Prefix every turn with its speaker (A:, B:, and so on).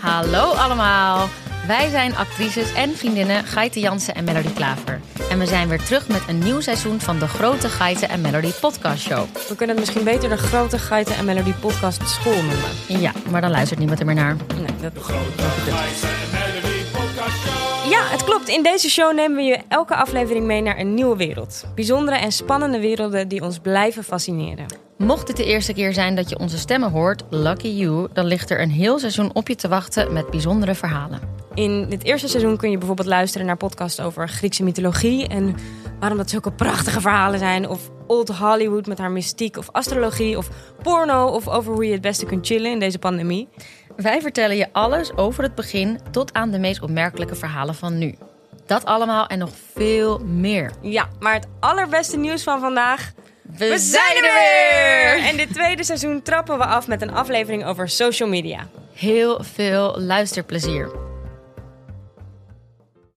A: Hallo allemaal. Wij zijn actrices en vriendinnen Gaite Jansen en Melody Klaver. En we zijn weer terug met een nieuw seizoen van de Grote Gaite en Melody Podcast Show.
B: We kunnen het misschien beter de Grote Geiten en Melody Podcast School noemen.
A: Ja, maar dan luistert niemand er meer naar.
B: Nee, dat is Ja, het klopt. In deze show nemen we je elke aflevering mee naar een nieuwe wereld. Bijzondere en spannende werelden die ons blijven fascineren.
A: Mocht dit de eerste keer zijn dat je onze stemmen hoort, lucky you, dan ligt er een heel seizoen op je te wachten met bijzondere verhalen.
B: In dit eerste seizoen kun je bijvoorbeeld luisteren naar podcasts over Griekse mythologie en waarom dat zulke prachtige verhalen zijn. Of Old Hollywood met haar mystiek of astrologie of porno of over hoe je het beste kunt chillen in deze pandemie.
A: Wij vertellen je alles over het begin tot aan de meest opmerkelijke verhalen van nu. Dat allemaal en nog veel meer.
B: Ja, maar het allerbeste nieuws van vandaag.
A: We,
B: En dit tweede seizoen trappen we af met een aflevering over social media.
A: Heel veel luisterplezier.